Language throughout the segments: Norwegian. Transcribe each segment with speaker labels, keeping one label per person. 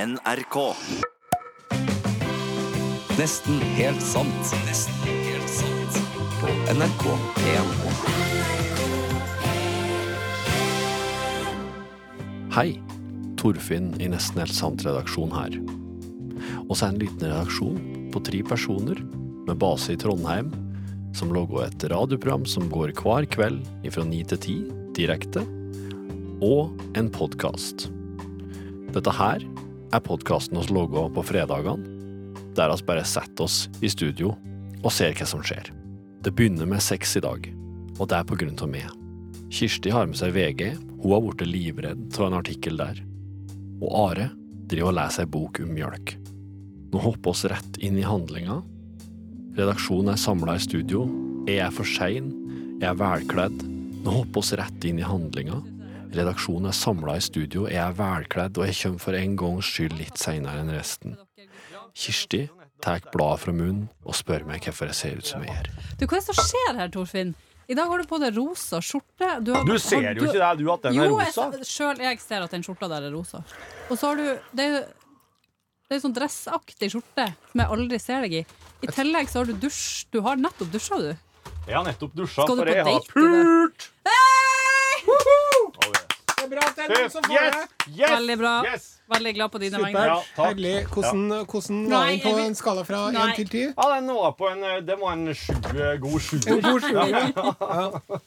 Speaker 1: NRK.
Speaker 2: Nesten helt sant. Nesten helt sant. På NRK1.
Speaker 3: Hei, Torfinn i Nesten helt sant-redaksjon her. Oss er en liten redaksjon på tre personer med base i Trondheim, som lager et radioprogram som går hver kveld fra ni til ti direkte, og en podkast. Dette her er podkasten oss lager på fredagene, der oss bare setter oss i studio og ser hva som skjer. Det begynner med sex i dag, og det er på grunn av meg. Kirsti har med seg VG, hun har blitt livredd av en artikkel der. Og Are driver og leser ei bok om mjølk. Nå hopper oss rett inn i handlinga. Redaksjonen er samla i studio. Jeg er for sein. Jeg er velkledd. Nå hopper oss rett inn i handlinga. Redaksjonen er samla i studio. Jeg er velkledd, og jeg kommer for en gangs skyld litt seinere enn resten. Kirsti tar bladet fra munnen og spør meg hvorfor jeg ser ut som jeg gjør.
Speaker 4: Du, Hva er det som skjer her, Torfinn? I dag har du på deg rosa skjorte. har-
Speaker 5: Du ser
Speaker 4: har
Speaker 5: jo ikke det, du, at den er
Speaker 4: Jo,
Speaker 5: rosa.
Speaker 4: jeg- sjøl jeg ser at den skjorta der er rosa. Og så har du Det er jo det er jo sånn dressaktig skjorte som jeg aldri ser deg i. I tillegg så har du dusj. Du har nettopp dusja, du.
Speaker 5: Jeg har nettopp dusja,
Speaker 4: Skal du
Speaker 5: for
Speaker 4: på
Speaker 5: jeg har
Speaker 4: date, du?
Speaker 5: pult!
Speaker 6: Det er bra at det er noen
Speaker 5: Yes,
Speaker 6: som får
Speaker 5: yes,
Speaker 6: det.
Speaker 5: yes,
Speaker 4: Veldig bra.
Speaker 5: Yes.
Speaker 4: Veldig glad på dine
Speaker 6: Super.
Speaker 4: vegne.
Speaker 5: Ja, takk.
Speaker 6: Herlig. Hvordan, hvordan la
Speaker 4: Nei,
Speaker 6: inn på
Speaker 4: jeg vil-
Speaker 6: en skala fra
Speaker 4: Nei.
Speaker 6: 1 til 10?
Speaker 5: Ja, den var på en eh, Det var en sju, eh, god
Speaker 6: En
Speaker 5: sjuer.
Speaker 6: god sjuer. Ja.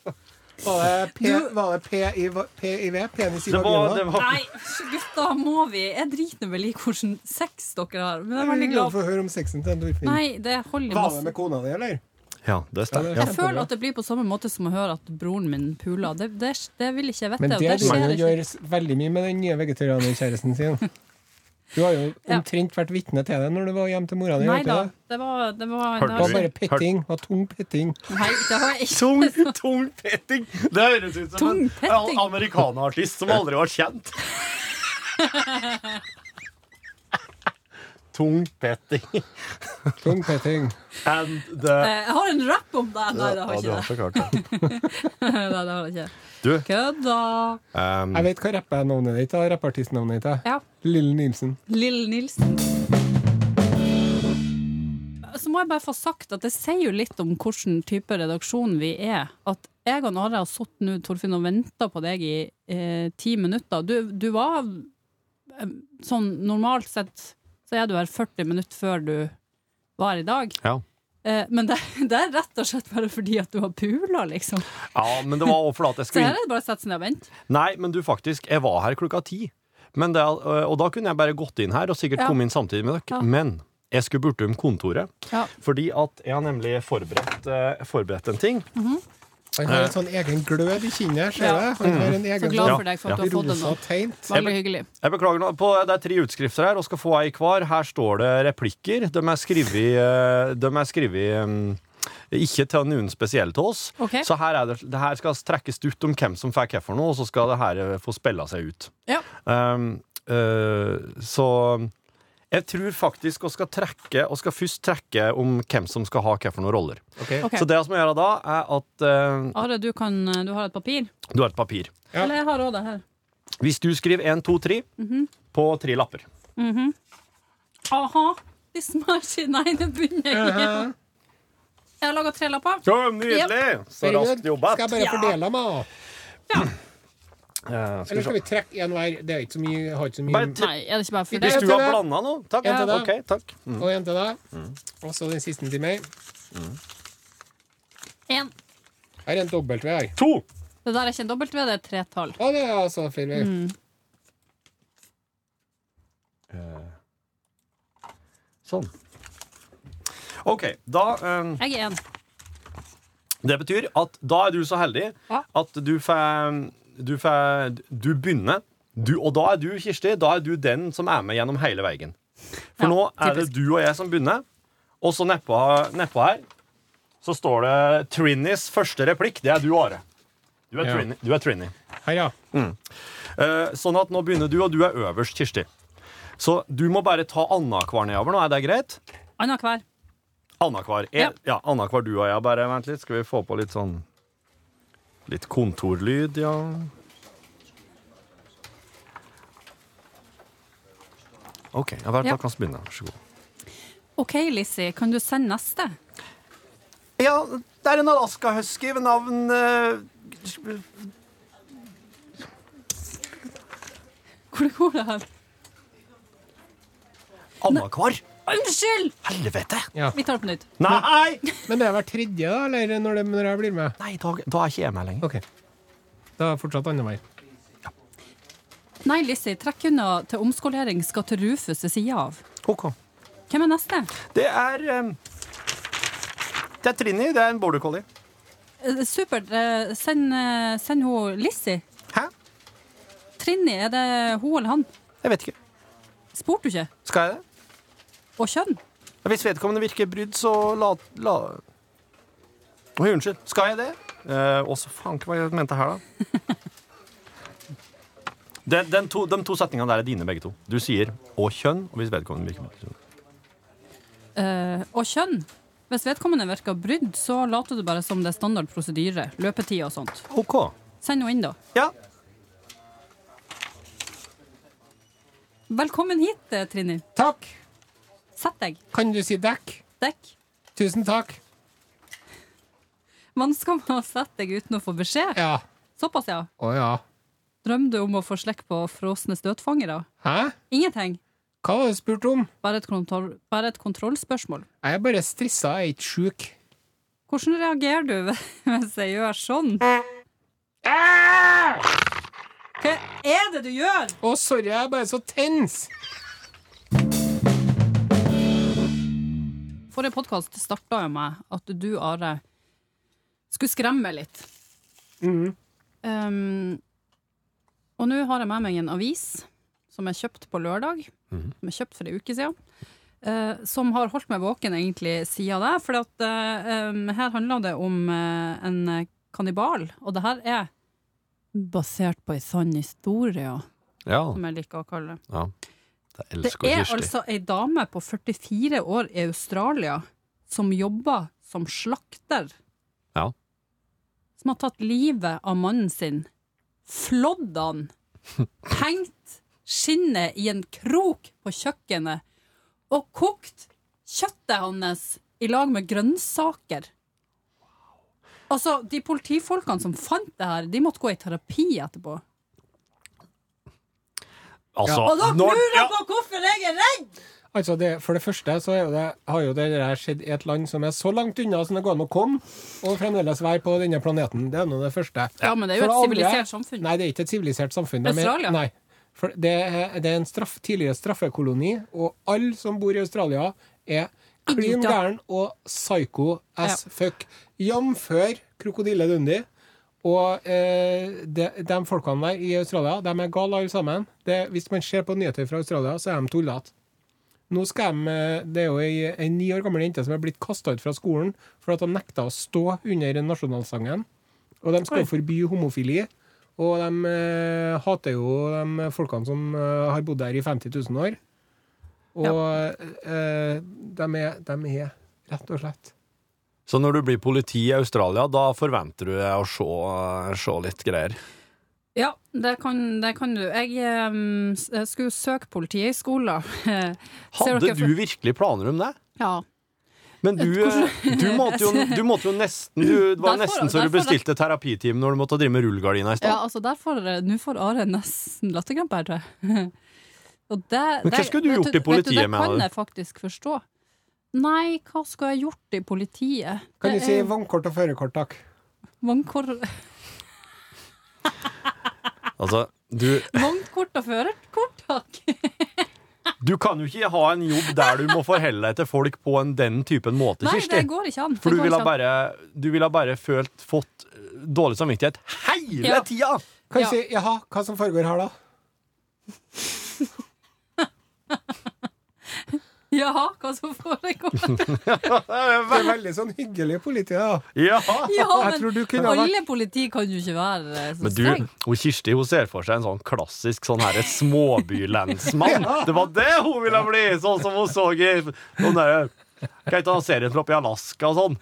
Speaker 6: Var det P,
Speaker 4: Du-
Speaker 6: var det P i, va- PIV? Penis i
Speaker 5: Det var, det
Speaker 6: vagina?
Speaker 5: var
Speaker 4: Nei, gutta, må vi? Jeg driter nå vel i hvordan sex dere har. Men jeg er veldig
Speaker 6: Jeg vil
Speaker 4: glad for
Speaker 6: få høre om sexen til en Torfinn.
Speaker 4: Nei, det holder
Speaker 6: Var det
Speaker 4: masse.
Speaker 6: med kona di, eller?
Speaker 5: Ja, det stemmer.
Speaker 6: Ja,
Speaker 4: Jeg føler at det blir på samme måte som å høre at broren min puler. Det, det, det vil ikke jeg vite.
Speaker 6: Men
Speaker 4: og
Speaker 6: det
Speaker 4: skjer
Speaker 6: driver
Speaker 4: ikke.
Speaker 6: jo gjør veldig mye med den nye vegetarianerkjæresten sin. Du har jo
Speaker 4: Ja.
Speaker 6: omtrent vært vitne til det når du var hjemme til mora di.
Speaker 4: Nei
Speaker 6: vet du
Speaker 4: da.
Speaker 6: det?
Speaker 4: Det var, det var,
Speaker 6: Det
Speaker 4: det
Speaker 6: var
Speaker 4: var
Speaker 6: bare petting. Det var tung petting.
Speaker 4: Nei, det har jeg ikke.
Speaker 5: Tung, tung petting. Det høres ut som
Speaker 4: Tung
Speaker 5: en
Speaker 4: petting.
Speaker 5: al- amerikanerartist som aldri var kjent. tung petting
Speaker 6: Tung petting.
Speaker 5: and the
Speaker 4: Eh, Jeg har en rapp om det. Nei, det har jeg
Speaker 5: Ja, du har
Speaker 4: ikke det.
Speaker 5: så klart det.
Speaker 4: Nei, det har jeg ikke.
Speaker 5: Du,
Speaker 4: Kødda.
Speaker 5: ehm,
Speaker 6: Jeg vet hva rappernavnet ditt er. Rappartistnavnet ditt er.
Speaker 4: Ja.
Speaker 6: Lille Nilsen.
Speaker 4: Lill Nilsen. Så må jeg bare få sagt at det sier jo litt om hvilken type redaksjon vi er. At jeg og Are har sittet nå, Torfinn, og venta på deg i eh, ti minutter. Du, du var eh, sånn normalt sett så er du her 40 minutter før du var i dag.
Speaker 5: Ja.
Speaker 4: Eh, men det, det er rett og slett bare fordi at du har pula, liksom.
Speaker 5: ja, men det var også fordi at jeg
Speaker 4: Så
Speaker 5: skulle
Speaker 4: her er det bare å sette seg ned og vente.
Speaker 5: Nei, men du faktisk, jeg var her klokka ti. Men det, eh, og da kunne jeg bare gått inn her og sikkert
Speaker 4: Ja.
Speaker 5: komme inn samtidig med dere.
Speaker 4: Ja.
Speaker 5: Men jeg skulle bortom kontoret,
Speaker 4: Ja.
Speaker 5: fordi at jeg har nemlig forberedt, eh, forberedt en ting.
Speaker 6: Han har
Speaker 5: Eh.
Speaker 6: en sånn egen glød i kinnet, ser
Speaker 4: Ja. Mm.
Speaker 6: jeg. Han har en
Speaker 4: Så
Speaker 6: egen
Speaker 4: glad
Speaker 6: sånn
Speaker 4: for deg for at
Speaker 5: Ja.
Speaker 4: du har fått den
Speaker 6: rosa
Speaker 4: nå.
Speaker 6: teint.
Speaker 4: Veldig hyggelig.
Speaker 5: Jeg beklager nå, på, Det er tre utskrifter her, og skal få ei hver. Her står det replikker. De er skrevet, eh, de er skrevet mm, ikke til noen spesiell til oss.
Speaker 4: Ok.
Speaker 5: Så her, er det, det her skal trekkes ut om hvem som fikk hva for noe, og så skal det her eh, få spilla seg ut.
Speaker 4: Ja.
Speaker 5: Um, eh, så jeg tror faktisk vi skal trekke Og skal først trekke om hvem som skal ha hva for noen roller.
Speaker 4: Ok.
Speaker 5: Så det jeg må gjøre da, er at eh,
Speaker 4: Are, du, kan, du har et papir?
Speaker 5: du har et papir.
Speaker 6: Ja.
Speaker 4: Eller jeg har òg det her.
Speaker 5: Hvis du skriver 1, 2, 3
Speaker 4: Mhm.
Speaker 5: på tre lapper
Speaker 4: Aha, de smashy. Nei, det begynner jeg igjen. Jeg har laga tre lapper.
Speaker 5: Så nydelig! Så raskt jobba.
Speaker 6: Skal jeg bare
Speaker 4: Ja.
Speaker 6: fordele meg? da?
Speaker 5: Eh, skal vi
Speaker 6: Eller
Speaker 5: se.
Speaker 6: skal vi trekke én hver? Det er ikke så mye, jeg har ikke så mye.
Speaker 5: Bare tre-
Speaker 4: Nei, er det ikke bare for
Speaker 5: Hvis
Speaker 4: det?
Speaker 6: Ikke
Speaker 5: du har
Speaker 6: det.
Speaker 5: blanda nå. Takk.
Speaker 6: Ja.
Speaker 5: Ok, takk. Mm.
Speaker 6: Og en til deg. Og så den siste til meg.
Speaker 4: En.
Speaker 6: Her er en dobbelt V her.
Speaker 5: To.
Speaker 4: Det der er ikke en dobbelt V, det er et tretall.
Speaker 6: Å, det er altså feil vei.
Speaker 4: Mm.
Speaker 5: Sånn. OK. Da eh,
Speaker 4: Jeg er en.
Speaker 5: Det betyr at da er du så heldig
Speaker 4: Ja.
Speaker 5: at du får Du, får, du begynner. Du, og da er du, Kirsti, da er du den som er med gjennom hele veien. For
Speaker 4: Ja,
Speaker 5: nå er det
Speaker 4: typisk.
Speaker 5: du og jeg som begynner, og så nedpå nedpå her så står det Trinnys første replikk. Det er du, Are. Du er,
Speaker 6: Ja.
Speaker 5: Trini, du er Trini.
Speaker 6: Her, ja.
Speaker 5: Eh, sånn at nå begynner du, og du er øverst, Kirsti. Så du må bare ta annenhver nedover nå. Er det greit?
Speaker 4: Anna hver.
Speaker 5: Annenhver.
Speaker 4: Ja.
Speaker 5: Ja. Ja, annenhver du og jeg. Bare vent litt, skal vi få på litt sånn Litt kontorlyd, ja. OK. Ja, vel,
Speaker 4: Ja.
Speaker 5: Da kan vi begynne. Vær så god.
Speaker 4: OK, Lissi, kan du sende neste?
Speaker 5: Ja, det er en Alaska husky ved navn eh,
Speaker 4: Hvor går det hen?
Speaker 5: Annakvar.
Speaker 4: Unnskyld!
Speaker 5: Helvete!
Speaker 6: Ja.
Speaker 4: Vi tar det på nytt.
Speaker 5: Nei!
Speaker 6: Men det er hver tredje, da? Eller når, det, når jeg blir med?
Speaker 5: Nei, da, da er ikke jeg med lenger.
Speaker 6: OK. Da er det fortsatt annenhver.
Speaker 4: Nei, Lissi, trekk unna til omskolering skal til Rufus ved sida av.
Speaker 5: OK.
Speaker 4: Hvem er neste?
Speaker 5: Det er eh, Det er Trini. Det er en border collie.
Speaker 4: Eh, Supert. eh, Send, eh, send hun Lissi.
Speaker 5: Hæ?
Speaker 4: Trini, er det hun eller han?
Speaker 5: Jeg vet ikke.
Speaker 4: Spurte du ikke?
Speaker 5: Skal jeg det?
Speaker 4: Og kjønn?
Speaker 5: Hvis vedkommende virker brydd, så la, la... Oi, unnskyld. Skal jeg det? Eh, også faen ikke hva jeg mente her, da. Den, den to, de to setningene der er dine, begge to. Du sier 'og kjønn', og hvis vedkommende virker brydd. så-
Speaker 4: Eh, og kjønn? Hvis vedkommende virker brydd, så later du bare som det er standard prosedyre. Løpetid og sånt.
Speaker 5: OK.
Speaker 4: Send henne inn, da.
Speaker 5: Ja.
Speaker 4: Velkommen hit, eh, Trini.
Speaker 6: Takk!
Speaker 4: Sett deg.
Speaker 6: Kan du si dekk?
Speaker 4: Dekk.
Speaker 6: Tusen takk.
Speaker 4: Man skal må sette deg uten å få beskjed.
Speaker 6: Ja.
Speaker 4: Såpass, ja.
Speaker 6: Å ja.
Speaker 4: Drømmer du om å få slikke på frosne støtfangere?
Speaker 6: Hæ?
Speaker 4: Ingenting.
Speaker 6: Hva var det du spurte om?
Speaker 4: Bare et, kontroll, bare et kontrollspørsmål.
Speaker 6: Jeg er bare stressa, jeg er ikke sjuk.
Speaker 4: Hvordan reagerer du hvis jeg gjør sånn? Hva er det du gjør?
Speaker 6: Å, sorry, jeg er bare så tens!
Speaker 4: Forrige podkast starta jo med at du, Are, skulle skremme litt. Um, og nå har jeg med meg en avis som jeg kjøpte på lørdag. Som jeg kjøpte for ei uke siden. eh, som har holdt meg våken egentlig siden det. For at, eh, um, her handler det om eh, en kannibal, og det her er basert på ei sann historie,
Speaker 5: Ja.
Speaker 4: som jeg liker å kalle det.
Speaker 3: Det
Speaker 4: Det
Speaker 3: elsker
Speaker 4: er
Speaker 3: Kirsti.
Speaker 4: altså ei dame på 44 år i Australia som jobber som slakter.
Speaker 3: Ja.
Speaker 4: Som har tatt livet av mannen sin, flådd han, hengt skinnet i en krok på kjøkkenet og kokt kjøttet hans i lag med grønnsaker. Altså, de politifolkene som fant det her, de måtte gå i terapi etterpå.
Speaker 5: Altså,
Speaker 4: Og da
Speaker 5: når-
Speaker 4: lurer
Speaker 5: ja.
Speaker 4: jeg på hvorfor jeg er redd!
Speaker 6: Altså, det, For det første så er jo det, har jo det der skjedd i et land som er så langt unna som det går an å komme, og fremdeles være på denne planeten. Det er nå det første.
Speaker 4: Ja, men det er jo
Speaker 6: For
Speaker 4: et
Speaker 6: andre-
Speaker 4: sivilisert samfunn.
Speaker 6: Nei, det er ikke et sivilisert samfunn. De er-
Speaker 4: Australia?
Speaker 6: Nei. For det er, det er en straff, tidligere straffekoloni, og alle som bor i Australia, er klin
Speaker 4: Idioter.
Speaker 6: gæren og psycho as fuck. Jamfør Krokodille Dundee. Og eh, de, de folkene der i Australia, de er gale alle sammen. Det, hvis man ser på nyheter fra Australia, så er de tullete. Nå skal de, eh, Det er jo ei, ei ni år gammel jente som er blitt kasta ut fra skolen for at de nekta å stå under nasjonalsangen. Og de skal
Speaker 4: Oi.
Speaker 6: forby homofili. Og de eh, hater jo de folkene som eh, har bodd her i 50 000 år. Og eh, de, er, de er rett og slett
Speaker 5: Så når du blir politi i Australia, da forventer du deg å se, se litt greier.
Speaker 4: Ja, det kan, det kan du. Jeg, ehm, s- jeg skulle søke politihøgskolen. Ser
Speaker 5: Hadde
Speaker 4: dere
Speaker 5: du virkelig planer om det?
Speaker 4: Ja.
Speaker 5: Men du, eh, du, måtte, jo, du måtte jo nesten du, Det var
Speaker 4: Der får-
Speaker 5: nesten så
Speaker 4: der
Speaker 5: du
Speaker 4: får-
Speaker 5: bestilte terapitime når du måtte drive med rullegardina i stad.
Speaker 4: ja, altså der får Nå får Are nesten latterkrampe her, tror jeg. Og det,
Speaker 5: Men hva
Speaker 4: det-
Speaker 5: skulle du
Speaker 4: vet
Speaker 5: gjort i
Speaker 4: vet du,
Speaker 5: politiet,
Speaker 4: Det
Speaker 5: mener
Speaker 4: kan
Speaker 5: du?
Speaker 4: jeg faktisk forstå. Nei, hva skulle jeg gjort i politiet?
Speaker 6: Kan du
Speaker 4: Det
Speaker 6: si
Speaker 4: er
Speaker 6: vannkort og førerkort, takk?
Speaker 4: Vognkort
Speaker 5: Altså, du,
Speaker 4: vognkort og førerkort, takk!
Speaker 5: du kan jo ikke ha en jobb der du må forholde deg til folk på en den typen måte,
Speaker 4: Nei,
Speaker 5: Kirsti.
Speaker 4: det går ikke an.
Speaker 5: For
Speaker 4: Det
Speaker 5: du
Speaker 4: går
Speaker 5: ville
Speaker 4: ikke an.
Speaker 5: bare, du ville bare følt, fått eh, dårlig samvittighet hele
Speaker 4: Ja.
Speaker 5: tida!
Speaker 6: Kan du
Speaker 4: Ja.
Speaker 6: si jaha, hva som foregår her, da?
Speaker 4: Jaha, hva som foregår?
Speaker 6: Det er veldig sånn hyggelig politi, da.
Speaker 5: Ja.
Speaker 4: Ja,
Speaker 6: Jeg tror du
Speaker 4: men
Speaker 6: kunne ha vært
Speaker 4: alle politi kan jo ikke være eh, så
Speaker 5: Men du,
Speaker 4: streng.
Speaker 5: hun Kirsti hun ser for seg en sånn klassisk sånn herre småbylensmann. Det var det hun ville bli! Sånn som hun så i noen derre Hva heter den serien fra oppe i Alaska og sånn?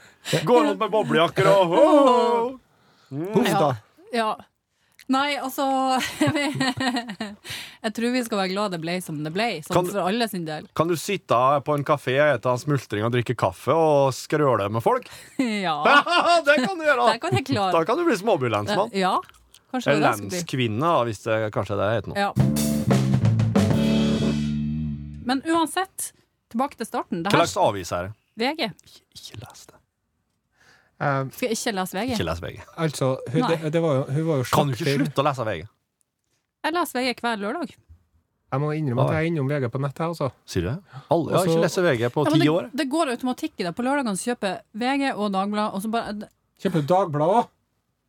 Speaker 5: Går rundt med boblejakker og ho, ho.
Speaker 6: Huff, da.
Speaker 4: Ja. Nei, altså Jeg tror vi skal være glad det ble som det ble, sånn
Speaker 5: Kan-
Speaker 4: for alle sin del.
Speaker 5: Kan du sitte på en kafé, ete en smultring og drikke kaffe og skrøle med folk?
Speaker 4: Ja.
Speaker 5: det kan du gjøre!
Speaker 4: Det kan jeg klare.
Speaker 5: Da kan du bli småbylensmann.
Speaker 4: Eh, Ja, kanskje det
Speaker 5: Eller
Speaker 4: er det jeg skal bli.
Speaker 5: landskvinne, da, hvis det kanskje er det det heter nå.
Speaker 4: Ja. Men uansett, tilbake til starten. Det
Speaker 5: Hva
Speaker 4: her
Speaker 5: slags avis er det?
Speaker 4: VG.
Speaker 5: Ikke les det.
Speaker 6: Eh,
Speaker 4: Skal jeg ikke lese VG?
Speaker 5: Ikke les VG.
Speaker 6: altså, hun,
Speaker 4: Nei.
Speaker 6: det, det var jo, hun var jo
Speaker 5: Kan du ikke
Speaker 6: sjakkfyr.
Speaker 5: slutte å lese VG?
Speaker 4: Jeg leser VG hver lørdag.
Speaker 6: Jeg må innrømme at jeg er innom VG på nettet, altså.
Speaker 5: Sier du det? Alle, jeg har
Speaker 6: Også-
Speaker 5: ikke lest VG på
Speaker 4: Ja, men
Speaker 5: ti
Speaker 4: det,
Speaker 5: år.
Speaker 4: det går automatikk i det. På lørdagene så kjøper jeg VG og Dagbladet, og så bare
Speaker 6: Kjøper du Dagbladet òg?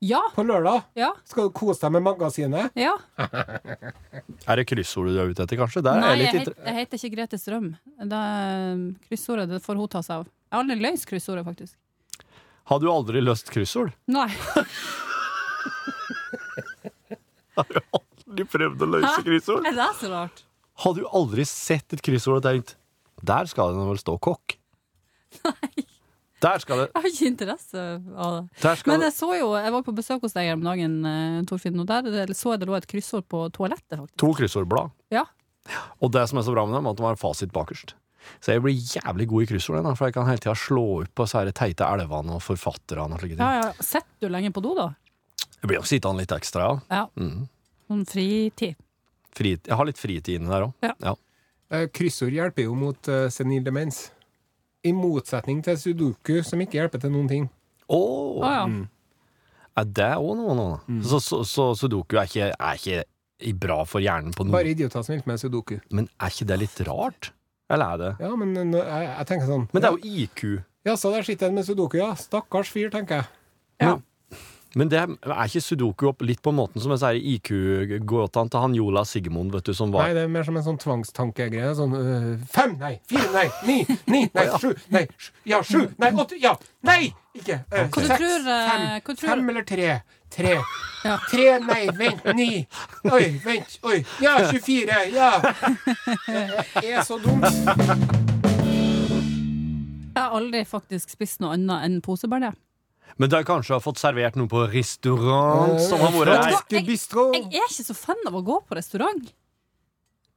Speaker 4: Ja!
Speaker 6: På lørdag?
Speaker 4: Ja!
Speaker 6: Skal du kose deg med magasinet?
Speaker 4: ja.
Speaker 5: Er det kryssordet du er ute etter, kanskje? Det er
Speaker 4: Nei,
Speaker 5: litt
Speaker 4: jeg, het,
Speaker 5: inter-
Speaker 4: jeg heter ikke Grete Strøm. Det er kryssordet det får hun ta seg av. Jeg har aldri løst kryssordet, faktisk.
Speaker 5: Har du aldri løst kryssord?
Speaker 4: Nei.
Speaker 5: Du prøvde å løse kryssord?
Speaker 4: Er det så rart?
Speaker 5: Har du aldri sett et kryssord og tenkt Der skal det vel stå kokk? Nei. Der skal det
Speaker 4: Jeg har ikke interesse av det.
Speaker 5: der skal
Speaker 4: Men
Speaker 5: det,
Speaker 4: jeg så jo, jeg var på besøk hos deg her om dagen, eh, Torfinn, og der det- så jeg det lå et kryssord på toalettet, faktisk.
Speaker 5: To kryssordblad.
Speaker 4: Ja.
Speaker 5: Og det som er så bra med dem, er at de har fasit bakerst. Så jeg blir jævlig god i kryssord, jeg, da, for jeg kan hele tida slå opp på disse her teite elvene og forfatterne og slike ting.
Speaker 4: Ja, ja. Sitter du lenge på do, da?
Speaker 5: Jeg blir nok sittende litt ekstra,
Speaker 4: Ja.
Speaker 5: ja. Mm.
Speaker 4: Sånn fritid.
Speaker 5: Frit, jeg har litt fritid inni der òg.
Speaker 4: Ja.
Speaker 6: Eh, Kryssord hjelper jo mot eh, senil demens. I motsetning til sudoku, som ikke hjelper til noen ting.
Speaker 4: Å ja.
Speaker 5: mm. Er det òg noe, nå, da? Så, så, så sudoku er ikke, er ikke i- bra for hjernen på noe
Speaker 6: Bare idioter som hjelper med sudoku.
Speaker 5: Men er ikke det litt rart? Eller er det
Speaker 6: Ja, men eh, nå- jeg, jeg tenker sånn
Speaker 5: Men det er jo IQ.
Speaker 6: Ja, så der sitter en med sudoku, ja. Stakkars fyr, tenker jeg.
Speaker 5: Men det er ikke sudoku opp litt på måten som disse her IQ-gåtene til han Jola Sigmund, vet du, som
Speaker 6: Nei,
Speaker 5: var
Speaker 6: det er mer som en sånn tvangstankegreie. Sånn øh, fem, nei, fire, nei, ni, ni, nei, sju, nei, sju, ja, sju, nei, åtte, ja, nei! Ikke øh,
Speaker 4: Hva du
Speaker 6: seks,
Speaker 4: tror, eh,
Speaker 6: fem,
Speaker 4: hva du tror-
Speaker 6: fem eller tre. Tre.
Speaker 4: Ja.
Speaker 6: Tre, nei, vent, ni. Oi, vent, oi. Ja, 24, ja. Det er så dumt.
Speaker 4: Jeg har aldri faktisk spist noe annet enn posebærne.
Speaker 5: Men det har kanskje har fått servert noe på restaurant Sånn som har vært her.
Speaker 4: Nei.
Speaker 6: Fransk bistro.
Speaker 4: Jeg er ikke så fan av å gå på restaurant.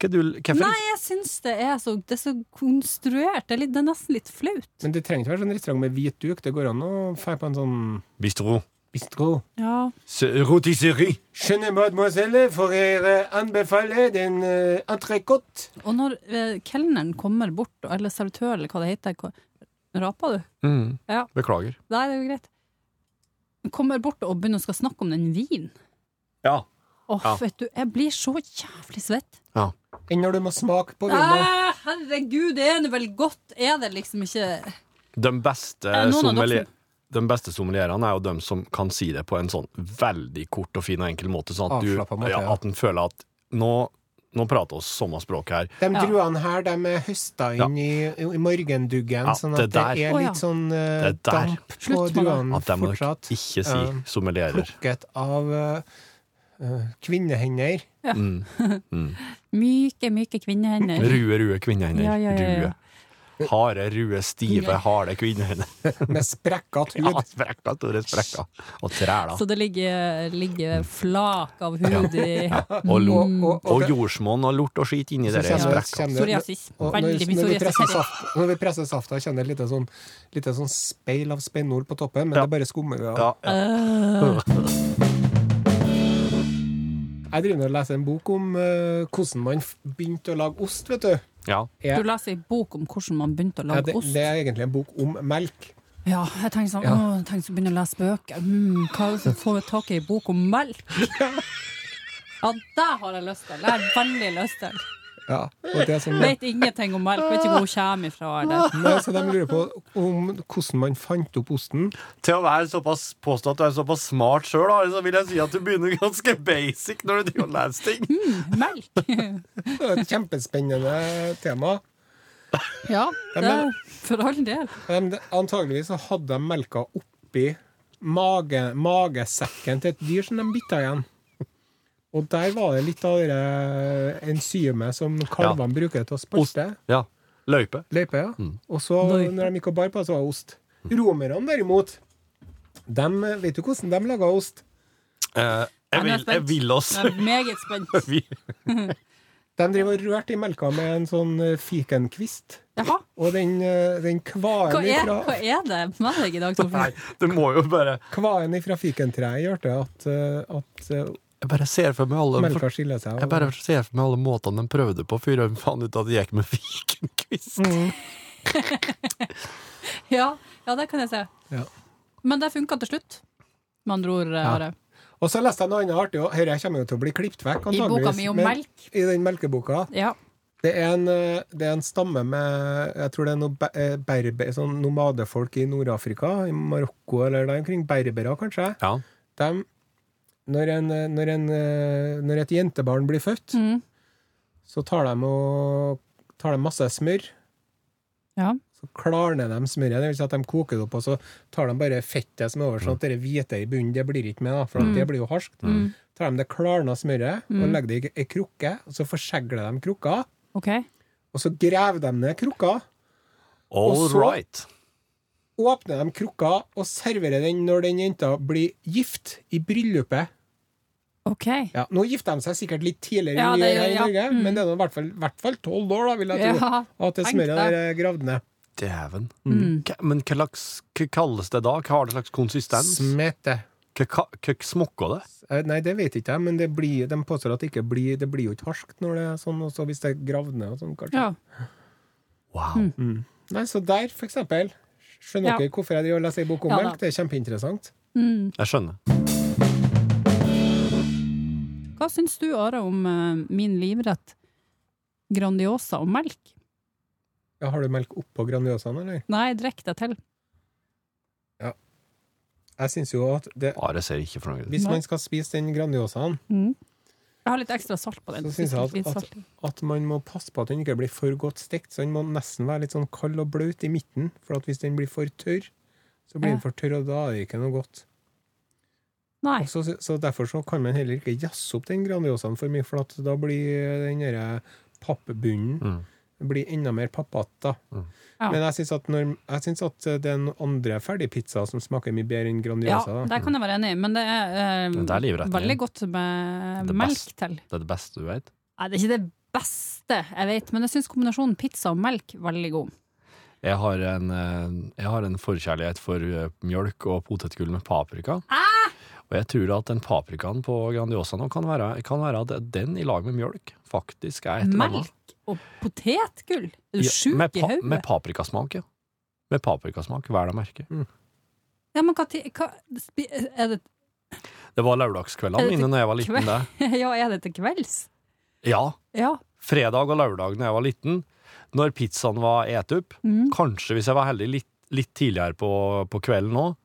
Speaker 5: Hva du- Hvorfor?
Speaker 4: Nei, jeg syns det er så, det er så konstruert. Det er, litt, det er nesten litt flaut.
Speaker 6: Men det trenger ikke være sånn restaurant med hvit duk. Det går an å dra på en sånn
Speaker 5: Bistro.
Speaker 6: bistro.
Speaker 4: Ja.
Speaker 5: Se- Rotisserie.
Speaker 6: Skjønne mademoiselle, for jeg anbefaler den uh, entrecôte.
Speaker 4: Og når eh, kelneren kommer bort, eller servitør, eller hva det heter, hva- raper du?
Speaker 5: Mm.
Speaker 4: Ja.
Speaker 5: Beklager.
Speaker 4: Nei, det er jo greit. Kommer bort og begynner å skal snakke om den vinen.
Speaker 5: Ja.
Speaker 4: Åh,
Speaker 5: Ja.
Speaker 4: vet du, jeg blir så jævlig svett.
Speaker 6: Enn når du må smake på vinen.
Speaker 4: Æ, herregud, er det vel godt? Er det liksom ikke
Speaker 5: De beste,
Speaker 4: Eh, noen av
Speaker 5: sommelier,
Speaker 4: dere-
Speaker 5: de beste sommelierene er jo de som kan si det på en sånn veldig kort og fin og enkel måte, sånn at, du,
Speaker 6: Avslappet måte,
Speaker 5: ja,
Speaker 6: ja.
Speaker 5: at en føler at nå, nå prater vi samme språk her.
Speaker 6: De
Speaker 4: Ja.
Speaker 6: druene her de er høsta inn i, i morgenduggen,
Speaker 5: Ja,
Speaker 6: sånn
Speaker 5: det
Speaker 6: at det,
Speaker 5: der.
Speaker 6: er
Speaker 4: Å, ja.
Speaker 6: litt sånn eh,
Speaker 5: Det der.
Speaker 6: damp på
Speaker 4: Slutt med det.
Speaker 6: druene
Speaker 5: At det må dere
Speaker 6: Mm, fortsatt.
Speaker 5: ikke si
Speaker 6: Eh,
Speaker 5: sommelierer.
Speaker 6: plukket av eh, eh, kvinnehender.
Speaker 4: myke, myke kvinnehender?
Speaker 5: Rue, rue kvinnehender.
Speaker 4: Ja, ja, ja, ja.
Speaker 5: Rue. Harde, rue, stive, harde kvinnehender.
Speaker 6: Med sprekkete hud.
Speaker 5: Ja, sprekka, store sprekka. Og træla.
Speaker 4: Så det ligger, ligger flak av hud i
Speaker 5: Og, lo,
Speaker 4: Mm.
Speaker 6: Og, og, og,
Speaker 5: og jordsmonn og lort og skit inni
Speaker 6: så
Speaker 5: der
Speaker 6: kommer det-
Speaker 5: sprekka.
Speaker 6: kommer det-
Speaker 4: psoriasis.
Speaker 6: og når,
Speaker 4: Veldig mye
Speaker 6: når, vi presser
Speaker 4: psoriasis.
Speaker 6: saft, når vi presser safta, kjenner det litt sånn, litt sånn speil av spennord på toppen, men
Speaker 5: Ja.
Speaker 6: det er bare skummer.
Speaker 5: Ja, ja.
Speaker 6: Jeg driver nå og leser en bok om eh, hvordan man f- begynte å lage ost, vet du.
Speaker 5: ja.
Speaker 4: Du leser ei bok om hvordan man begynte å
Speaker 6: Ja,
Speaker 4: lage
Speaker 6: det,
Speaker 4: ost.
Speaker 6: det er egentlig en bok om melk.
Speaker 4: Ja, jeg tenkte sånn,
Speaker 6: Ja.
Speaker 4: å, jeg tenkte å begynne å lese bøker. Mm, hva er det som får jeg tak i ei bok om melk? Ja, det har jeg lyst til. Det har jeg veldig lyst til.
Speaker 6: Ja, og det sånn som,
Speaker 4: Vet ingenting om melk. Vet ikke hvor hun kommer ifra. Eller.
Speaker 6: Nei, så de lurer på om hvordan man fant opp osten.
Speaker 5: Til å være såpass, påstå at du er såpass smart sjøl, så vil jeg si at du begynner ganske basic når du driver og leser ting.
Speaker 4: Melk!
Speaker 6: Det er et kjempespennende tema.
Speaker 4: Ja,
Speaker 6: Ja,
Speaker 4: det
Speaker 6: men-
Speaker 4: er for all del.
Speaker 6: De, antageligvis så hadde de melka oppi mage, magesekken til et dyr som de bytta igjen. Og der var det litt av det der enzymet som kalvene bruker til å spalte.
Speaker 5: Ja. Løype.
Speaker 6: Løype, ja. Og så,
Speaker 4: Løype.
Speaker 6: når de gikk og bar på, så var det ost. Romerne, derimot, de, vet du hvordan de laga ost?
Speaker 5: Eh,
Speaker 4: Nei,
Speaker 5: Jeg
Speaker 4: nå er
Speaker 5: vil, jeg vil oss.
Speaker 4: Jeg er meget spent.
Speaker 5: Vi-
Speaker 6: De driver og rørte i melka med en sånn eh, fikenkvist.
Speaker 4: Jaha.
Speaker 6: Og den, eh, den kvaen,
Speaker 4: Hva er, hva
Speaker 6: ifra,
Speaker 4: er det med deg i dag,
Speaker 5: Nei,
Speaker 4: Torfinn?
Speaker 5: det må jo bare
Speaker 6: kvaen ifra fikentreet gjør det at, eh, at eh,
Speaker 5: Jeg bare ser for meg alle
Speaker 6: melka skiller seg.
Speaker 5: Jeg bare ser for meg alle måtene de prøvde på før de fant ut at det gikk med fikenkvist.
Speaker 4: Ja, ja, det kan jeg se.
Speaker 6: Ja.
Speaker 4: Men det funka til slutt. Med andre ord, Are.
Speaker 6: Og så leste jeg noe annet artig, og dette kommer jo til å bli klippet vekk,
Speaker 4: I
Speaker 6: antageligvis.
Speaker 4: boka mi om
Speaker 6: men-
Speaker 4: melk.
Speaker 6: I den melkeboka.
Speaker 4: Ja.
Speaker 6: Det er, en, eh, det er en stamme med Jeg tror det er noe be- eh, berber, sånn nomadefolk i Nord-Afrika, i Marokko eller der omkring. Berbere, kanskje.
Speaker 5: Ja.
Speaker 6: Dem- når, en, eh, når, en, eh, når et jentebarn blir født,
Speaker 4: Mm.
Speaker 6: så tar de, og, tar de masse smør.
Speaker 4: ja.
Speaker 6: Så klarner de smøret. Det vil si at de koker det opp, og så tar de bare fettet som er over, sånn at det hvite i bunnen det blir ikke med, da, for
Speaker 4: Mm.
Speaker 6: at det blir jo harskt. Tar de det klarna smøret og legger det i ei krukke, og så forsegler de krukka.
Speaker 4: OK.
Speaker 6: Og så graver de ned krukka,
Speaker 5: All
Speaker 6: Og så-
Speaker 5: right.
Speaker 6: åpner de krukka og serverer den når den jenta blir gift i bryllupet.
Speaker 4: OK.
Speaker 6: Ja, nå gifter de seg sikkert litt tidligere
Speaker 4: Ja,
Speaker 6: enn vi
Speaker 4: det
Speaker 6: gjør her i
Speaker 4: gjør-
Speaker 6: Norge,
Speaker 4: ja. Mm.
Speaker 6: men det er nå i hvert fall- i hvert fall tolv år, da, vil jeg tro.
Speaker 4: Ja.
Speaker 6: Og at det
Speaker 4: tenk
Speaker 6: smøret
Speaker 4: det.
Speaker 6: der er gravd ned.
Speaker 5: Dæven. Hva- Men hva slags hva kalles det da? Hva har det slags konsistens?
Speaker 6: Smete.
Speaker 5: Hva, hva, hva smokker det?
Speaker 6: Eh, Nei, det vet ikke jeg, men det blir, de påstår at det ikke blir Det blir jo ikke harskt når det er sånn, og så hvis det er gravd ned og sånn, kanskje.
Speaker 4: Ja.
Speaker 5: Wow.
Speaker 6: Nei, så der, for eksempel. Skjønner
Speaker 4: Ja.
Speaker 6: dere hvorfor jeg driver og leser ei bok om
Speaker 4: Ja da.
Speaker 6: melk? Det er kjempeinteressant.
Speaker 4: Mm.
Speaker 5: Jeg skjønner.
Speaker 4: Hva syns du, Are, om eh, min livrett Grandiosa og melk?
Speaker 6: Ja, har du melk oppå Grandiosaen, eller?
Speaker 4: Nei, drikk deg til.
Speaker 6: Jeg syns jo at det,
Speaker 5: Are ser ikke fornøyd ut.
Speaker 6: hvis
Speaker 4: Nei.
Speaker 6: man skal spise den Grandiosaen,
Speaker 4: Jeg har litt ekstra salt på den.
Speaker 6: Mm. Så synes jeg at-
Speaker 4: Litt
Speaker 6: at-
Speaker 4: salt i.
Speaker 6: at man må passe på at den ikke blir for godt stekt. Så den må nesten være litt sånn kald og blaut i midten, for at hvis den blir for tørr, så blir
Speaker 4: Ja.
Speaker 6: den for tørr, og da er det ikke noe godt.
Speaker 4: Nei.
Speaker 6: Og Så, så derfor så kan man heller ikke jazze opp den Grandiosaen for mye, for at da blir den derre pappbunnen
Speaker 5: Mm.
Speaker 6: blir enda mer pappata.
Speaker 5: Mm.
Speaker 4: Ja.
Speaker 6: Men jeg syns at, når, jeg synes at det er noen andre ferdigpizzaer som smaker mye bedre enn
Speaker 4: Ja,
Speaker 6: Grandiosa. da.
Speaker 4: der kan jeg være enig, i, men det er, eh,
Speaker 5: Men det er livretten
Speaker 4: veldig
Speaker 5: din.
Speaker 4: godt med
Speaker 5: Det
Speaker 4: melk
Speaker 5: beste.
Speaker 4: til.
Speaker 5: Det er det beste du vet.
Speaker 4: Nei, det er ikke det beste jeg vet, men jeg syns kombinasjonen pizza og melk er veldig god.
Speaker 5: Jeg har en, eh, jeg har en forkjærlighet for eh, mjølk og potetgull med paprika. Og jeg tror at den paprikaen på Grandiosa nå kan være, kan være at den i lag med mjølk faktisk er et eller annet.
Speaker 4: Melk og potetgull? Er du
Speaker 5: Ja,
Speaker 4: sjuk
Speaker 5: med
Speaker 4: i
Speaker 5: pa-
Speaker 4: hodet?
Speaker 5: Med paprikasmak, ja. Med paprikasmak, hva er det merket?
Speaker 4: Ja, men hva, ti- hva spi- er, det,
Speaker 5: Det var
Speaker 4: Er
Speaker 5: lørdagskveldene
Speaker 4: det
Speaker 5: mine når jeg var liten.
Speaker 4: kveld?
Speaker 5: Det.
Speaker 4: ja, er det til kvelds?
Speaker 5: Ja,
Speaker 4: Ja.
Speaker 5: fredag og lørdag når jeg var liten. Når pizzaen var et opp,
Speaker 4: Mm,
Speaker 5: kanskje hvis jeg var heldig litt, litt tidligere på, på kvelden òg,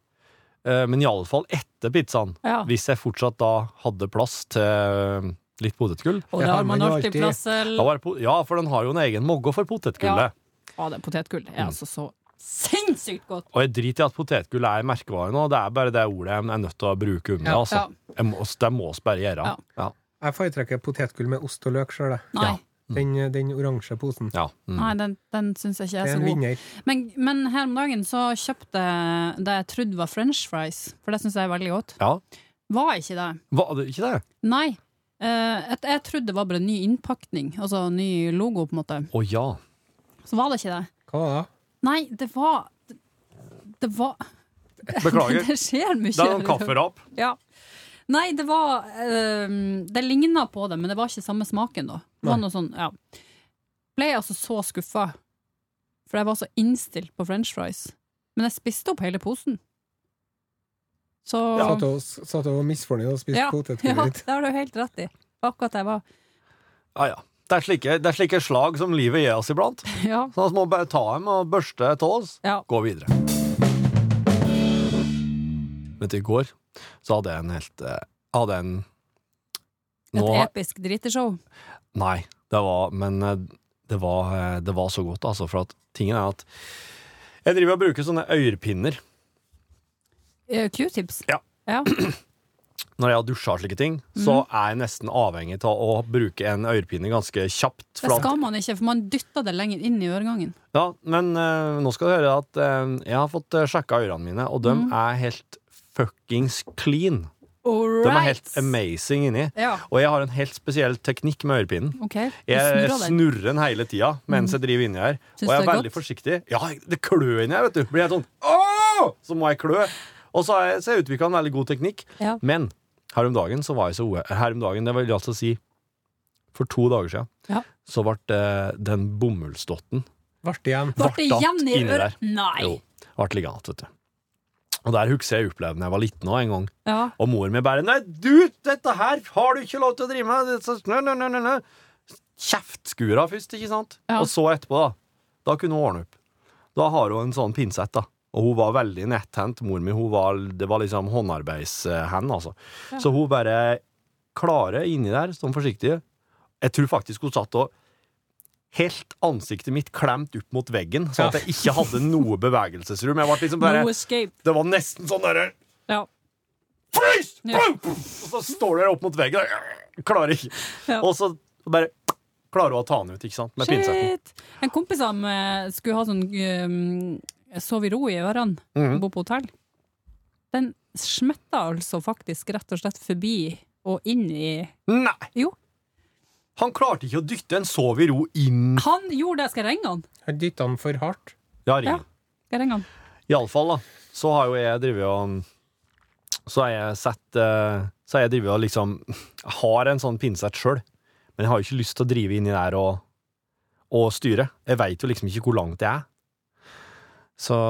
Speaker 5: men iallfall etter pizzaen.
Speaker 4: ja.
Speaker 5: Hvis jeg fortsatt da hadde plass til eh, litt potetgull.
Speaker 4: Og
Speaker 6: Det
Speaker 4: da
Speaker 6: har
Speaker 4: har man
Speaker 6: man jo
Speaker 4: alltid
Speaker 6: alltid.
Speaker 4: plass til
Speaker 5: Da var det po ja, for den har jo en egen mogge for potetgullet.
Speaker 4: Ja, det potetgull
Speaker 5: Mm.
Speaker 4: er altså så sinnssykt godt!
Speaker 5: Og jeg driter i at potetgull er merkevare nå, det er bare det ordet jeg er nødt til å bruke om det.
Speaker 6: Ja,
Speaker 5: Altså. Jeg må, det må vi bare gjøre.
Speaker 4: Ja.
Speaker 5: Ja.
Speaker 6: Jeg foretrekker potetgull med ost og løk sjøl, jeg.
Speaker 4: Nei,
Speaker 5: Ja.
Speaker 6: Den, den oransje posen.
Speaker 5: Ja. Mm.
Speaker 4: nei den, den syns jeg ikke
Speaker 6: Det
Speaker 4: er
Speaker 6: er
Speaker 4: så
Speaker 6: en
Speaker 4: god.
Speaker 6: vinner.
Speaker 4: Men, men her om dagen så kjøpte jeg det jeg trodde var french fries, for det syns jeg er veldig godt.
Speaker 5: ja.
Speaker 4: Var ikke det.
Speaker 5: Hva, det- ikke det?
Speaker 4: Nei. Eh, jeg, jeg trodde det var bare en ny innpakning, altså en ny logo, på en måte.
Speaker 5: Å ja.
Speaker 4: Så var det ikke det.
Speaker 6: Hva var det?
Speaker 4: Nei, det var Det, det var
Speaker 5: Beklager.
Speaker 4: Det skjer mye.
Speaker 5: Det er noen kafferap.
Speaker 4: Ja. Nei, det var eh, Det ligna på det, men det var ikke samme smaken, da. Det var
Speaker 6: Nei.
Speaker 4: noe sånn, ja. Ble jeg altså så skuffa, for jeg var så innstilt på french fries. Men jeg spiste opp hele posen. Så
Speaker 6: Satt og, satt og var misfornøyd og spiste
Speaker 4: ja,
Speaker 6: potetgull
Speaker 4: ja,
Speaker 6: litt.
Speaker 4: det har du helt rett i. Akkurat det jeg var.
Speaker 5: Ja, ja. Det er, slike, det er slike slag som livet gir oss iblant.
Speaker 4: Ja.
Speaker 5: Så vi må vi bare ta dem og børste av oss.
Speaker 4: ja.
Speaker 5: Gå videre. Vet du, i går så hadde jeg en helt eh, Hadde jeg en
Speaker 4: Et
Speaker 5: Nå har-
Speaker 4: episk driteshow.
Speaker 5: Nei, det var, men eh, det var, eh, det var så godt, altså. For at tingen er at jeg driver og bruker sånne øyrepinner
Speaker 4: Eh, Q-tips.
Speaker 5: Ja.
Speaker 4: Ja.
Speaker 5: når jeg har dusja og slike ting. Så
Speaker 4: Mhm.
Speaker 5: er jeg nesten avhengig av å bruke en ørepinne ganske kjapt.
Speaker 4: Det
Speaker 5: for at-
Speaker 4: skal man ikke, for man dytter det lenger inn i øregangen.
Speaker 5: Ja, men eh, nå skal du høre eh,
Speaker 4: Mhm.
Speaker 5: at eh, jeg har fått uh, sjekka ørene mine, og de er helt fuckings clean.
Speaker 4: All
Speaker 5: De er
Speaker 4: right.
Speaker 5: helt amazing inni.
Speaker 4: Ja.
Speaker 5: Og jeg har en helt spesiell teknikk med ørepinen.
Speaker 4: OK. Du
Speaker 5: Jeg
Speaker 4: snurrer den.
Speaker 5: snurrer den hele tida mens jeg driver inni her.
Speaker 4: Syns
Speaker 5: og jeg
Speaker 4: det
Speaker 5: er
Speaker 4: er godt?
Speaker 5: veldig forsiktig. Ja, det klør inni her, vet du. Blir jeg sånn Åh! Så må jeg klø. Og så har jeg, så jeg utvikla en veldig god teknikk.
Speaker 4: Ja.
Speaker 5: Men her om dagen så var jeg så uhe- Her om dagen, det vil altså si for to dager siden,
Speaker 4: Ja.
Speaker 5: så ble eh, den bomullsdotten
Speaker 6: Vart igjen.
Speaker 4: Ble det
Speaker 5: Vartatt
Speaker 4: igjen i
Speaker 5: inni der.
Speaker 4: øret? Nei.
Speaker 5: Jo, ble liggende igjen, vet du. Og der husker jeg jeg opplevde da jeg var liten òg, en gang.
Speaker 4: Ja.
Speaker 5: Og mor mi bare Nei, du, dette her har du ikke lov til å drive med! Det er så- Nø, nø, nø, nø, nø. Kjeftskura først, ikke sant?
Speaker 4: Ja.
Speaker 5: Og så etterpå, da. Da kunne hun ordne opp. Da har hun en sånn pinsett, da. Og hun var veldig netthendt, mor mi. Hun var, det var liksom håndarbeidshend, altså. Så hun bare klare inni der, sånn forsiktig. Jeg tror faktisk hun satt og Helt ansiktet mitt klemt opp mot veggen, sånn at jeg ikke hadde noe bevegelsesrom. Jeg ble liksom bare,
Speaker 4: No escape.
Speaker 5: det var nesten sånn derre
Speaker 4: Ja.
Speaker 5: Freeze!
Speaker 4: Ja.
Speaker 5: Boom! Og så står dere opp mot veggen og klarer ikke.
Speaker 4: Ja.
Speaker 5: Og så bare klarer hun å ta den ut, ikke sant? Med pinsetten.
Speaker 4: Shit! En kompis av meg skulle ha sånn eh, sove i ro i ørene, bo på hotell. Den smetta altså faktisk rett og slett forbi og inn i
Speaker 5: Nei!
Speaker 4: Jo,
Speaker 5: Han klarte ikke å dytte en sov i ro inn.
Speaker 4: han gjorde det! Skal jeg ringe han?
Speaker 6: Jeg dytta den for hardt.
Speaker 5: Ja,
Speaker 4: Ja,
Speaker 5: ring.
Speaker 4: skal jeg ringe han?
Speaker 5: Iallfall, da. Så har jo jeg drevet og Så har jeg sett eh, Så har jeg drevet og liksom jeg Har en sånn pinsett sjøl, men jeg har jo ikke lyst til å drive inni der og, og styre. Jeg veit jo liksom ikke hvor langt jeg er. Så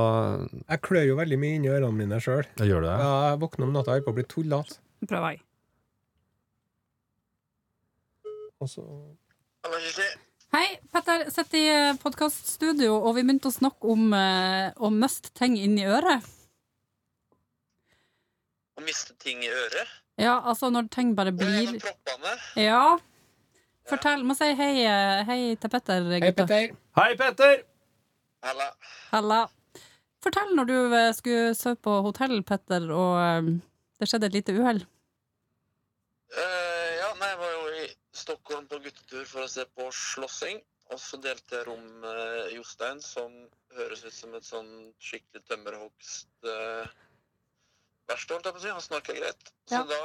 Speaker 6: Jeg klør jo veldig mye inni ørene mine sjøl.
Speaker 5: Jeg gjør det.
Speaker 6: Jeg våkner om natta og holder på å bli tullete.
Speaker 4: Prøver jeg.
Speaker 6: Og så
Speaker 4: Hei, Petter sitter i podkaststudio, og vi begynte å snakke om eh, å miste ting inn i øret.
Speaker 1: Å miste ting i øret?
Speaker 4: Ja, altså når ting bare
Speaker 1: Og
Speaker 4: blir
Speaker 1: gjennom proppene?
Speaker 4: Ja. Fortell. Må si hei, eh, hei til Petter,
Speaker 6: Hei,
Speaker 4: gutta.
Speaker 6: Petter.
Speaker 5: Hei, Petter!
Speaker 1: Halla.
Speaker 4: Halla. Fortell når du eh, skulle sove på hotell, Petter, og eh, det skjedde et lite uhell.
Speaker 1: Eh, ja, nei, jeg var jo i Stockholm på guttetur for å se på slåssing. Og så delte jeg rom med Jostein, som høres ut som et sånn skikkelig tømmerhogst eh, verksted, holdt jeg på å si. Han snakka greit. Så
Speaker 4: Ja.
Speaker 1: da,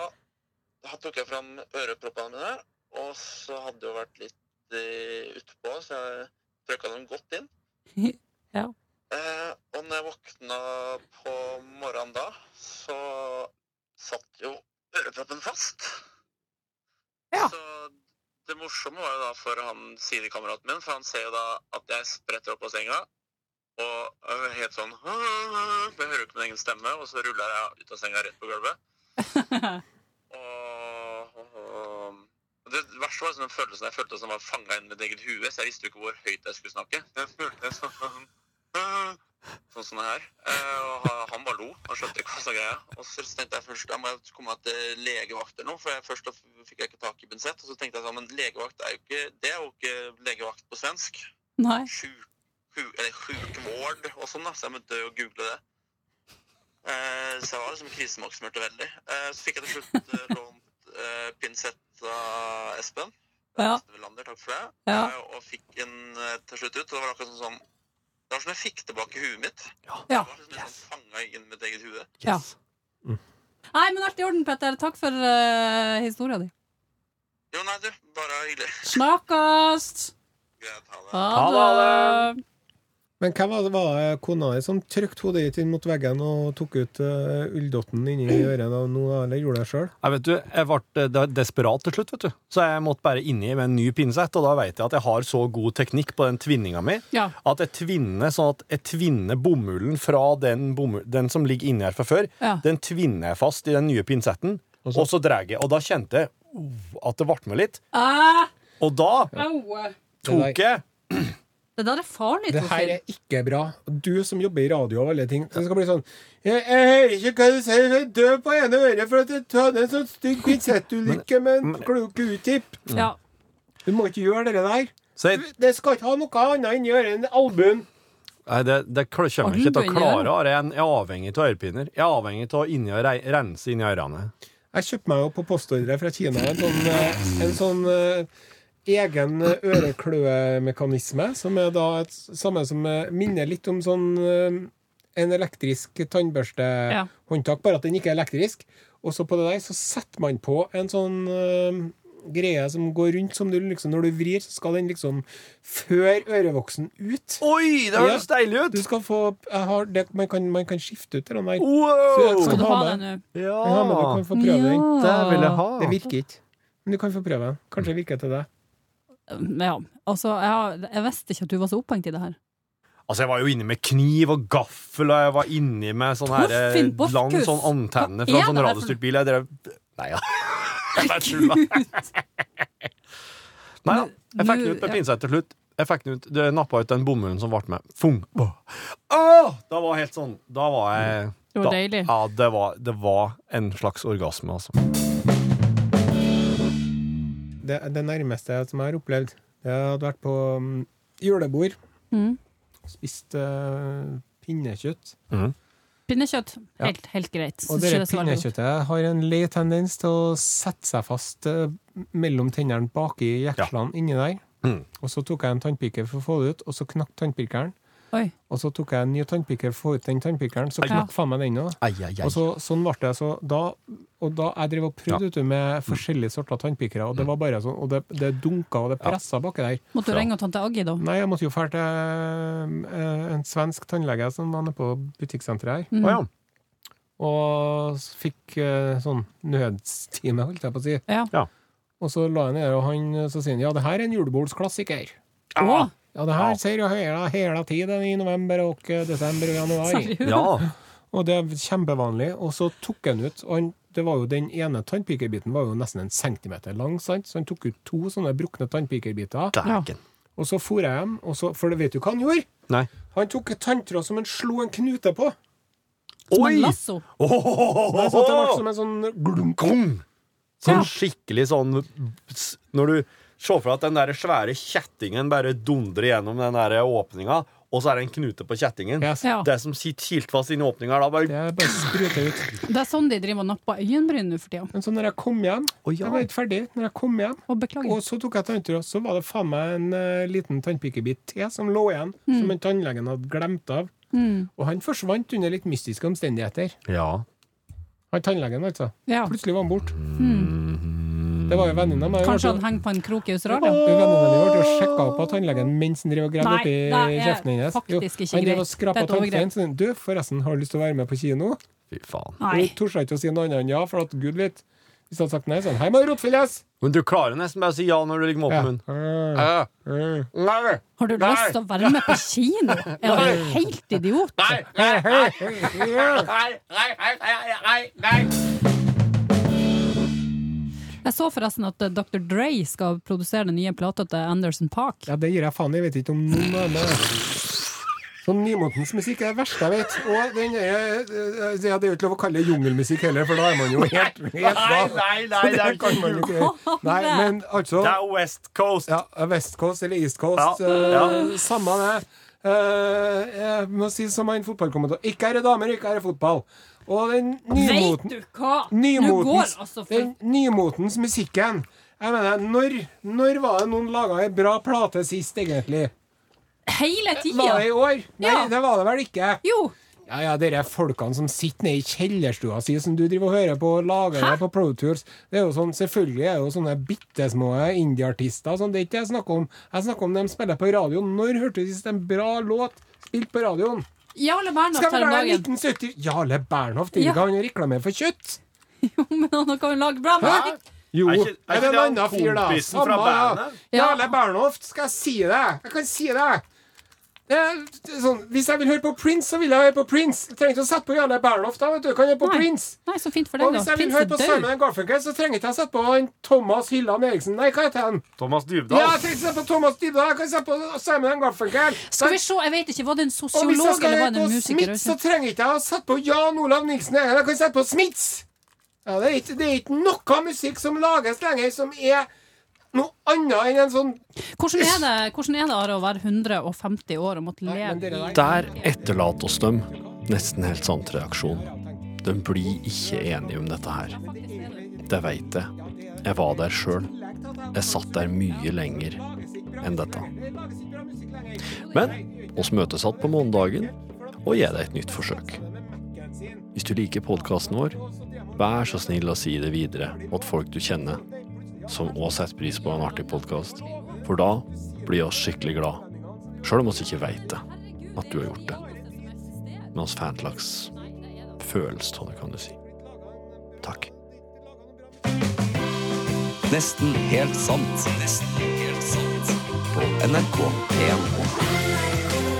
Speaker 1: da tok jeg fram øreproppene mine, og så hadde det jo vært litt eh, utpå, så jeg trykka dem godt inn.
Speaker 4: Ja.
Speaker 1: Eh, og når jeg våkna på morgenen da, så satt jo øreproppen fast.
Speaker 4: Ja.
Speaker 1: Så det morsomme var jo da for han sidekameraten min, for han ser jo da at jeg spretter opp av senga. Og er helt sånn «Åh, åh, åh», for Jeg hører jo ikke min egen stemme, og så ruller jeg ut av senga rett på gulvet. Og, og- og Eh, det verste var liksom den følelsen jeg følte som var fanga inn i mitt eget hue, så jeg visste jo ikke hvor høyt jeg skulle snakke. Jeg følte sånn «Åh», Sånn som det her. Eh, Og ha- han bare lo. Han skjønte ikke hva som var greia. Og så tenkte jeg først da må jeg komme meg til legevakt eller noe, for jeg, først da fikk jeg ikke tak i Binsett. Og så tenkte jeg sånn, men legevakt er jo ikke Det er jo ikke legevakt på svensk.
Speaker 4: Nei.
Speaker 1: Sjuk, sjuk, eller sjukvård og sånn, da. Så jeg måtte jo google det. Eh, Så jeg var liksom krisemaksimerte veldig. Eh, Så fikk jeg til slutt eh, lånt eh, pinsett av Espen.
Speaker 4: Ja.
Speaker 1: Espen Velander, takk for det.
Speaker 4: Ja.
Speaker 1: Eh, Og fikk den eh, til slutt ut. Og det var akkurat sånn som Det var som jeg fikk tilbake huet mitt.
Speaker 4: ja.
Speaker 1: Jeg var liksom yes. fanga inn i mitt eget hue.
Speaker 4: Ja. Nei, men alt i orden, Petter. Takk for uh, historia di.
Speaker 1: Jo, nei, du. Bare hyggelig.
Speaker 4: Snakkast!
Speaker 1: Greit, ha det.
Speaker 4: Ha det!
Speaker 6: Men hvem var det, var det kona di som trykte hodet ditt inn mot veggen og tok ut eh, ulldotten inni øret da, nå, da, eller gjorde det sjøl?
Speaker 5: Nei, vet du, jeg ble eh, desperat til slutt, vet du. Så jeg måtte bare inni med en ny pinsett, og da vet jeg at jeg har så god teknikk på den tvinninga mi
Speaker 4: Ja.
Speaker 5: at jeg tvinner sånn at jeg tvinner bomullen fra den, bomull, den som ligger inni her fra før,
Speaker 4: Ja.
Speaker 5: den tvinner jeg fast i den nye pinsetten, og så, drar jeg. Og da kjente jeg uh, at det ble med litt.
Speaker 4: Ah,
Speaker 5: Og da
Speaker 4: au.
Speaker 5: tok jeg
Speaker 4: Det der er farlig,
Speaker 6: Det her
Speaker 4: Torfinn.
Speaker 6: er ikke bra. Du som jobber i radio og alle ting. Det skal bli sånn Jeg, jeg hører ikke hva du sier, for jeg dør på ene øret for at jeg hadde en sånn stygg pinsettulykke med en klo- q-tip.
Speaker 4: Ja.
Speaker 6: Du må ikke gjøre det der.
Speaker 5: så jeg,
Speaker 6: Du- Det skal ikke ha noe annet inni øret enn albuen.
Speaker 5: Nei, det, det kl- kommer jeg ikke til å
Speaker 4: Albuen,
Speaker 5: klare. Jeg er avhengig av ørepinner. Jeg er avhengig av å inni og rei- rense inni ørene.
Speaker 6: Jeg kjøpte meg jo på postordre fra Kina en sånn, eh, en sånn eh, egen ørekløemekanisme, som er da et s- samme som eh, minner litt om sånn eh, en elektrisk
Speaker 4: Ja.
Speaker 6: tannbørstehåndtak, bare at den ikke er elektrisk. Og så på det der så setter man på en sånn eh, greie som går rundt, som du liksom Når du vrir, så skal den liksom føre ørevoksen ut.
Speaker 5: Oi, det høres deilig
Speaker 6: Du
Speaker 5: ut!
Speaker 6: skal få jeg har, det, man, kan, man kan skifte ut den der.
Speaker 5: Wow!
Speaker 6: Så-
Speaker 4: Skal du
Speaker 6: ha
Speaker 4: ha
Speaker 6: med.
Speaker 4: den nå?
Speaker 6: Jeg har med, du kan
Speaker 5: Ja,
Speaker 6: få prøve den.
Speaker 5: det vil jeg ha.
Speaker 6: Det virker ikke. Ah. Men du kan få prøve den. Kanskje det virker til deg.
Speaker 4: Ja. Altså, jeg, har- jeg visste ikke at du var så opphengt i det her.
Speaker 5: Altså, jeg var jo inne med kniv og gaffel, og jeg var inni med sånn her eh,
Speaker 4: Torfinn Borchhus!
Speaker 5: lang sånn antenne fra
Speaker 4: Hva er
Speaker 5: en sånn
Speaker 4: det her for-
Speaker 5: radiostyrt bil. Jeg drev Nei, ja. Jeg bare tulla. Nei da. Jeg fikk den ut med pinsett til slutt. Jeg fikk den ut, det nappa ut den bomullen som ble med. Fung! Åh! Åh! Da var jeg helt sånn Da var jeg
Speaker 4: Det var deilig.
Speaker 5: Ja, det var, det var en slags orgasme, altså.
Speaker 6: Det, det nærmeste som jeg har opplevd, det hadde vært på mm, julebord.
Speaker 4: Mm.
Speaker 6: Spist eh, pinnekjøtt.
Speaker 4: Pinnekjøtt, helt, helt greit.
Speaker 6: Og
Speaker 4: Synes
Speaker 6: det
Speaker 4: ikke så veldig godt.
Speaker 6: pinnekjøttet har en lei tendens til å sette seg fast eh, mellom tennene baki jekslene inni der.
Speaker 5: Mm.
Speaker 6: Og så tok jeg en tannpiker for å få det ut, og så knakk tannpikeren.
Speaker 4: Oi.
Speaker 6: Og så tok jeg en ny tannpiker for å få ut den tannpikeren, så
Speaker 4: Ja.
Speaker 6: knakk faen meg den òg.
Speaker 5: Ai, ai, ai.
Speaker 6: Og så, sånn ble det. Så da, og da jeg drev og prøvde vet du, med forskjellige sorter tannpikere, og det var bare sånn, og det, det dunka og det pressa baki der.
Speaker 4: Måtte du
Speaker 5: Ja.
Speaker 4: ringe og tante Aggie, da?
Speaker 6: Nei, jeg måtte jo dra til eh, en svensk tannlege som var nede på butikksenteret her.
Speaker 5: Å ja.
Speaker 6: Og s- fikk eh, sånn nødstime, holdt jeg på å si.
Speaker 4: Ja.
Speaker 5: Ja.
Speaker 6: Og så la jeg ned, og han eh, så sier han, ja, det her er en julebordsklassiker.
Speaker 5: Ah,
Speaker 4: Å,
Speaker 6: Ja, det her ser jo hele, hele tiden i november og eh, desember og januar.
Speaker 4: seriøst?
Speaker 5: ja.
Speaker 6: Og det er kjempevanlig. Og så tok han ut og han, det var jo Den ene tannpikerbiten var jo nesten en centimeter lang, sant? så han tok ut to sånne brukne tannpikerbiter.
Speaker 5: Dæken.
Speaker 6: Og så for jeg hjem, og så, for det vet du hva han gjorde?
Speaker 5: Nei.
Speaker 6: Han tok et tanntråd som han slo en knute på.
Speaker 4: Som
Speaker 5: Oi!
Speaker 4: en lasso?
Speaker 6: Nei, så det ble som en sånn glunk.
Speaker 5: Kong! Sånn
Speaker 4: Ja.
Speaker 5: skikkelig sånn s- Når du ser for deg at den der svære kjettingen bare dundrer gjennom den der åpninga, og så er det en knute på kjettingen.
Speaker 6: Yes.
Speaker 4: Ja.
Speaker 5: Det som sitter kilt fast inni åpninga, er da bare
Speaker 6: Det er bare spruta ut.
Speaker 4: Det er sånn de driver og napper øyenbryn nå for tida.
Speaker 6: Men så når jeg kom hjem
Speaker 5: Å, ja.
Speaker 6: Jeg var ikke ferdig. Når jeg kom hjem,
Speaker 4: Og beklager.
Speaker 6: og så tok jeg tanntråd, så var det faen meg en eh, liten tannpikebit til som lå igjen, som en tannlegen hadde glemt av.
Speaker 4: Mm.
Speaker 6: Og han forsvant under litt mystiske omstendigheter.
Speaker 5: Ja.
Speaker 6: Han tannlegen, altså.
Speaker 4: Ja.
Speaker 6: Plutselig var han borte. Det var jo venninna mi.
Speaker 4: Kanskje han henger på en krok i Australia?
Speaker 6: Venninna mi ble jo sjekka opp av tannlegen mens han drev og gravde
Speaker 4: Nei,
Speaker 6: oppi
Speaker 4: det er
Speaker 6: kjeften hennes. Jo,
Speaker 4: faktisk ikke
Speaker 6: Han drev og
Speaker 4: greit.
Speaker 6: skrapa
Speaker 4: Det er et overgrep.
Speaker 6: tannstein. Så han, du, forresten, har du lyst til å være med på kino?
Speaker 5: Fy faen.
Speaker 4: Nei.
Speaker 6: Hun torde ikke å si noe annet enn ja, for at gud vet. Hvis han hadde sagt nei, sånn Hei, med rotfilles!
Speaker 5: Men du klarer nesten bare å si ja når du ligger med
Speaker 6: Ja.
Speaker 5: åpen munn.
Speaker 6: Mm, mm.
Speaker 5: Nei.
Speaker 4: Har du lyst til å være med på kino? Er du helt idiot? Jeg så forresten at eh, Dr. Dre skal produsere den nye plata til Anderson Park.
Speaker 6: Ja, det gir jeg faen i. Jeg vet ikke om noen er med. Sånn nymotens musikk er det verste jeg vet. Og den er, eh, ja, det er jo ikke lov å kalle det jungelmusikk heller, for da er man jo helt, helt gal.
Speaker 5: nei, nei,
Speaker 6: Det kan man jo ikke gjøre. Nei, men altså
Speaker 5: Det er West Coast.
Speaker 6: ja, West Coast eller East Coast,
Speaker 5: Ja,
Speaker 6: eh,
Speaker 5: ja.
Speaker 6: samme det. Eh, jeg må si som en fotballkommentator Ikke er det damer, ikke er det fotball. Og den
Speaker 4: Veit
Speaker 6: nymoten
Speaker 4: du hva?! Nå går
Speaker 6: Nymotens,
Speaker 4: altså for
Speaker 6: den nymotens musikken. Jeg mener, når, når var det noen laga ei bra plate sist, egentlig?
Speaker 4: hele tida!
Speaker 6: Var det i år? Nei,
Speaker 4: Ja.
Speaker 6: det var det vel ikke.
Speaker 4: Jo!
Speaker 6: Ja, ja, dere folkene som sitter nede i kjellerstua si, som du driver og hører på og lager det på Pro Tours. Det er jo sånn, selvfølgelig er det jo sånne bitte små indieartister. Sånn, det er ikke det jeg snakker om. Jeg snakker om dem spiller på radioen. Når hørte du sist en bra låt spilt på radioen?
Speaker 4: Jarle Bernhoft
Speaker 6: Skal vi
Speaker 4: her om
Speaker 6: være
Speaker 4: dagen.
Speaker 6: 1970? Jarle Bernhoft,
Speaker 4: Ja.
Speaker 6: ikke han reklamerer for kjøtt?
Speaker 4: Jo, men han kan jo lage bra musikk!
Speaker 6: Jo,
Speaker 5: Er
Speaker 6: er,
Speaker 5: ikke- er ikke
Speaker 6: det
Speaker 5: det
Speaker 6: en
Speaker 5: han
Speaker 6: annen fyr, da?
Speaker 5: kompisen fra
Speaker 6: ja.
Speaker 5: bandet?
Speaker 4: Ja.
Speaker 6: Jarle Bernhoft, skal jeg si det? Jeg kan si det. Det er det er sånn, hvis jeg vil høre på Prince, så vil jeg høre på Prince. Jeg trenger ikke å sette på Jarle Bernhoft. da, vet du. Kan jeg høre på
Speaker 4: Nei.
Speaker 6: Prince?
Speaker 4: Nei, så fint for
Speaker 6: Og
Speaker 4: deg,
Speaker 6: hvis
Speaker 4: da.
Speaker 6: jeg vil
Speaker 4: Fins
Speaker 6: høre på
Speaker 4: det død?
Speaker 6: Simon Garfunkel, så trenger ikke jeg sette på han Thomas Hylland Eriksen. Nei, hva heter han?
Speaker 5: Thomas Dybdahl.
Speaker 6: Ja, jeg trenger ikke sette på Thomas Dybdahl, jeg kan sette på Simon Garfunkel.
Speaker 4: Skal vi se, jeg vet ikke, var det en
Speaker 6: Og hvis jeg
Speaker 4: sosiolog
Speaker 6: skal
Speaker 4: eller var
Speaker 6: høre
Speaker 4: det
Speaker 6: på
Speaker 4: en musiker?
Speaker 6: Smiths, så trenger ikke jeg å sette på Jan Olav Nilsen. Eggen. Jeg kan sette på Smiths! Ja, det, er ikke, det er ikke noe musikk som lages lenger som er noe annet enn en sånn
Speaker 4: Hvordan er det, hvordan er det Are, å være 150 år og måtte
Speaker 6: Nei, men
Speaker 4: leve
Speaker 6: dere
Speaker 4: i
Speaker 6: der-
Speaker 3: Der etterlater oss dem nesten helt samt reaksjon. De blir ikke enige om dette her. Det veit jeg. Jeg var der sjøl. Jeg satt der mye lenger enn dette. Men oss møtes igjen på mandagen og gir deg et nytt forsøk. Hvis du liker podkasten vår, Vær så snill å si det videre åt folk du kjenner, som òg setter pris på en artig podkast. For da blir oss skikkelig glad. Sjøl om oss ikke veit det, at du har gjort det. Men oss får en slags følelse av det, kan du si. Takk.
Speaker 2: Nesten helt sant. Nesten helt sant. På NRK P1.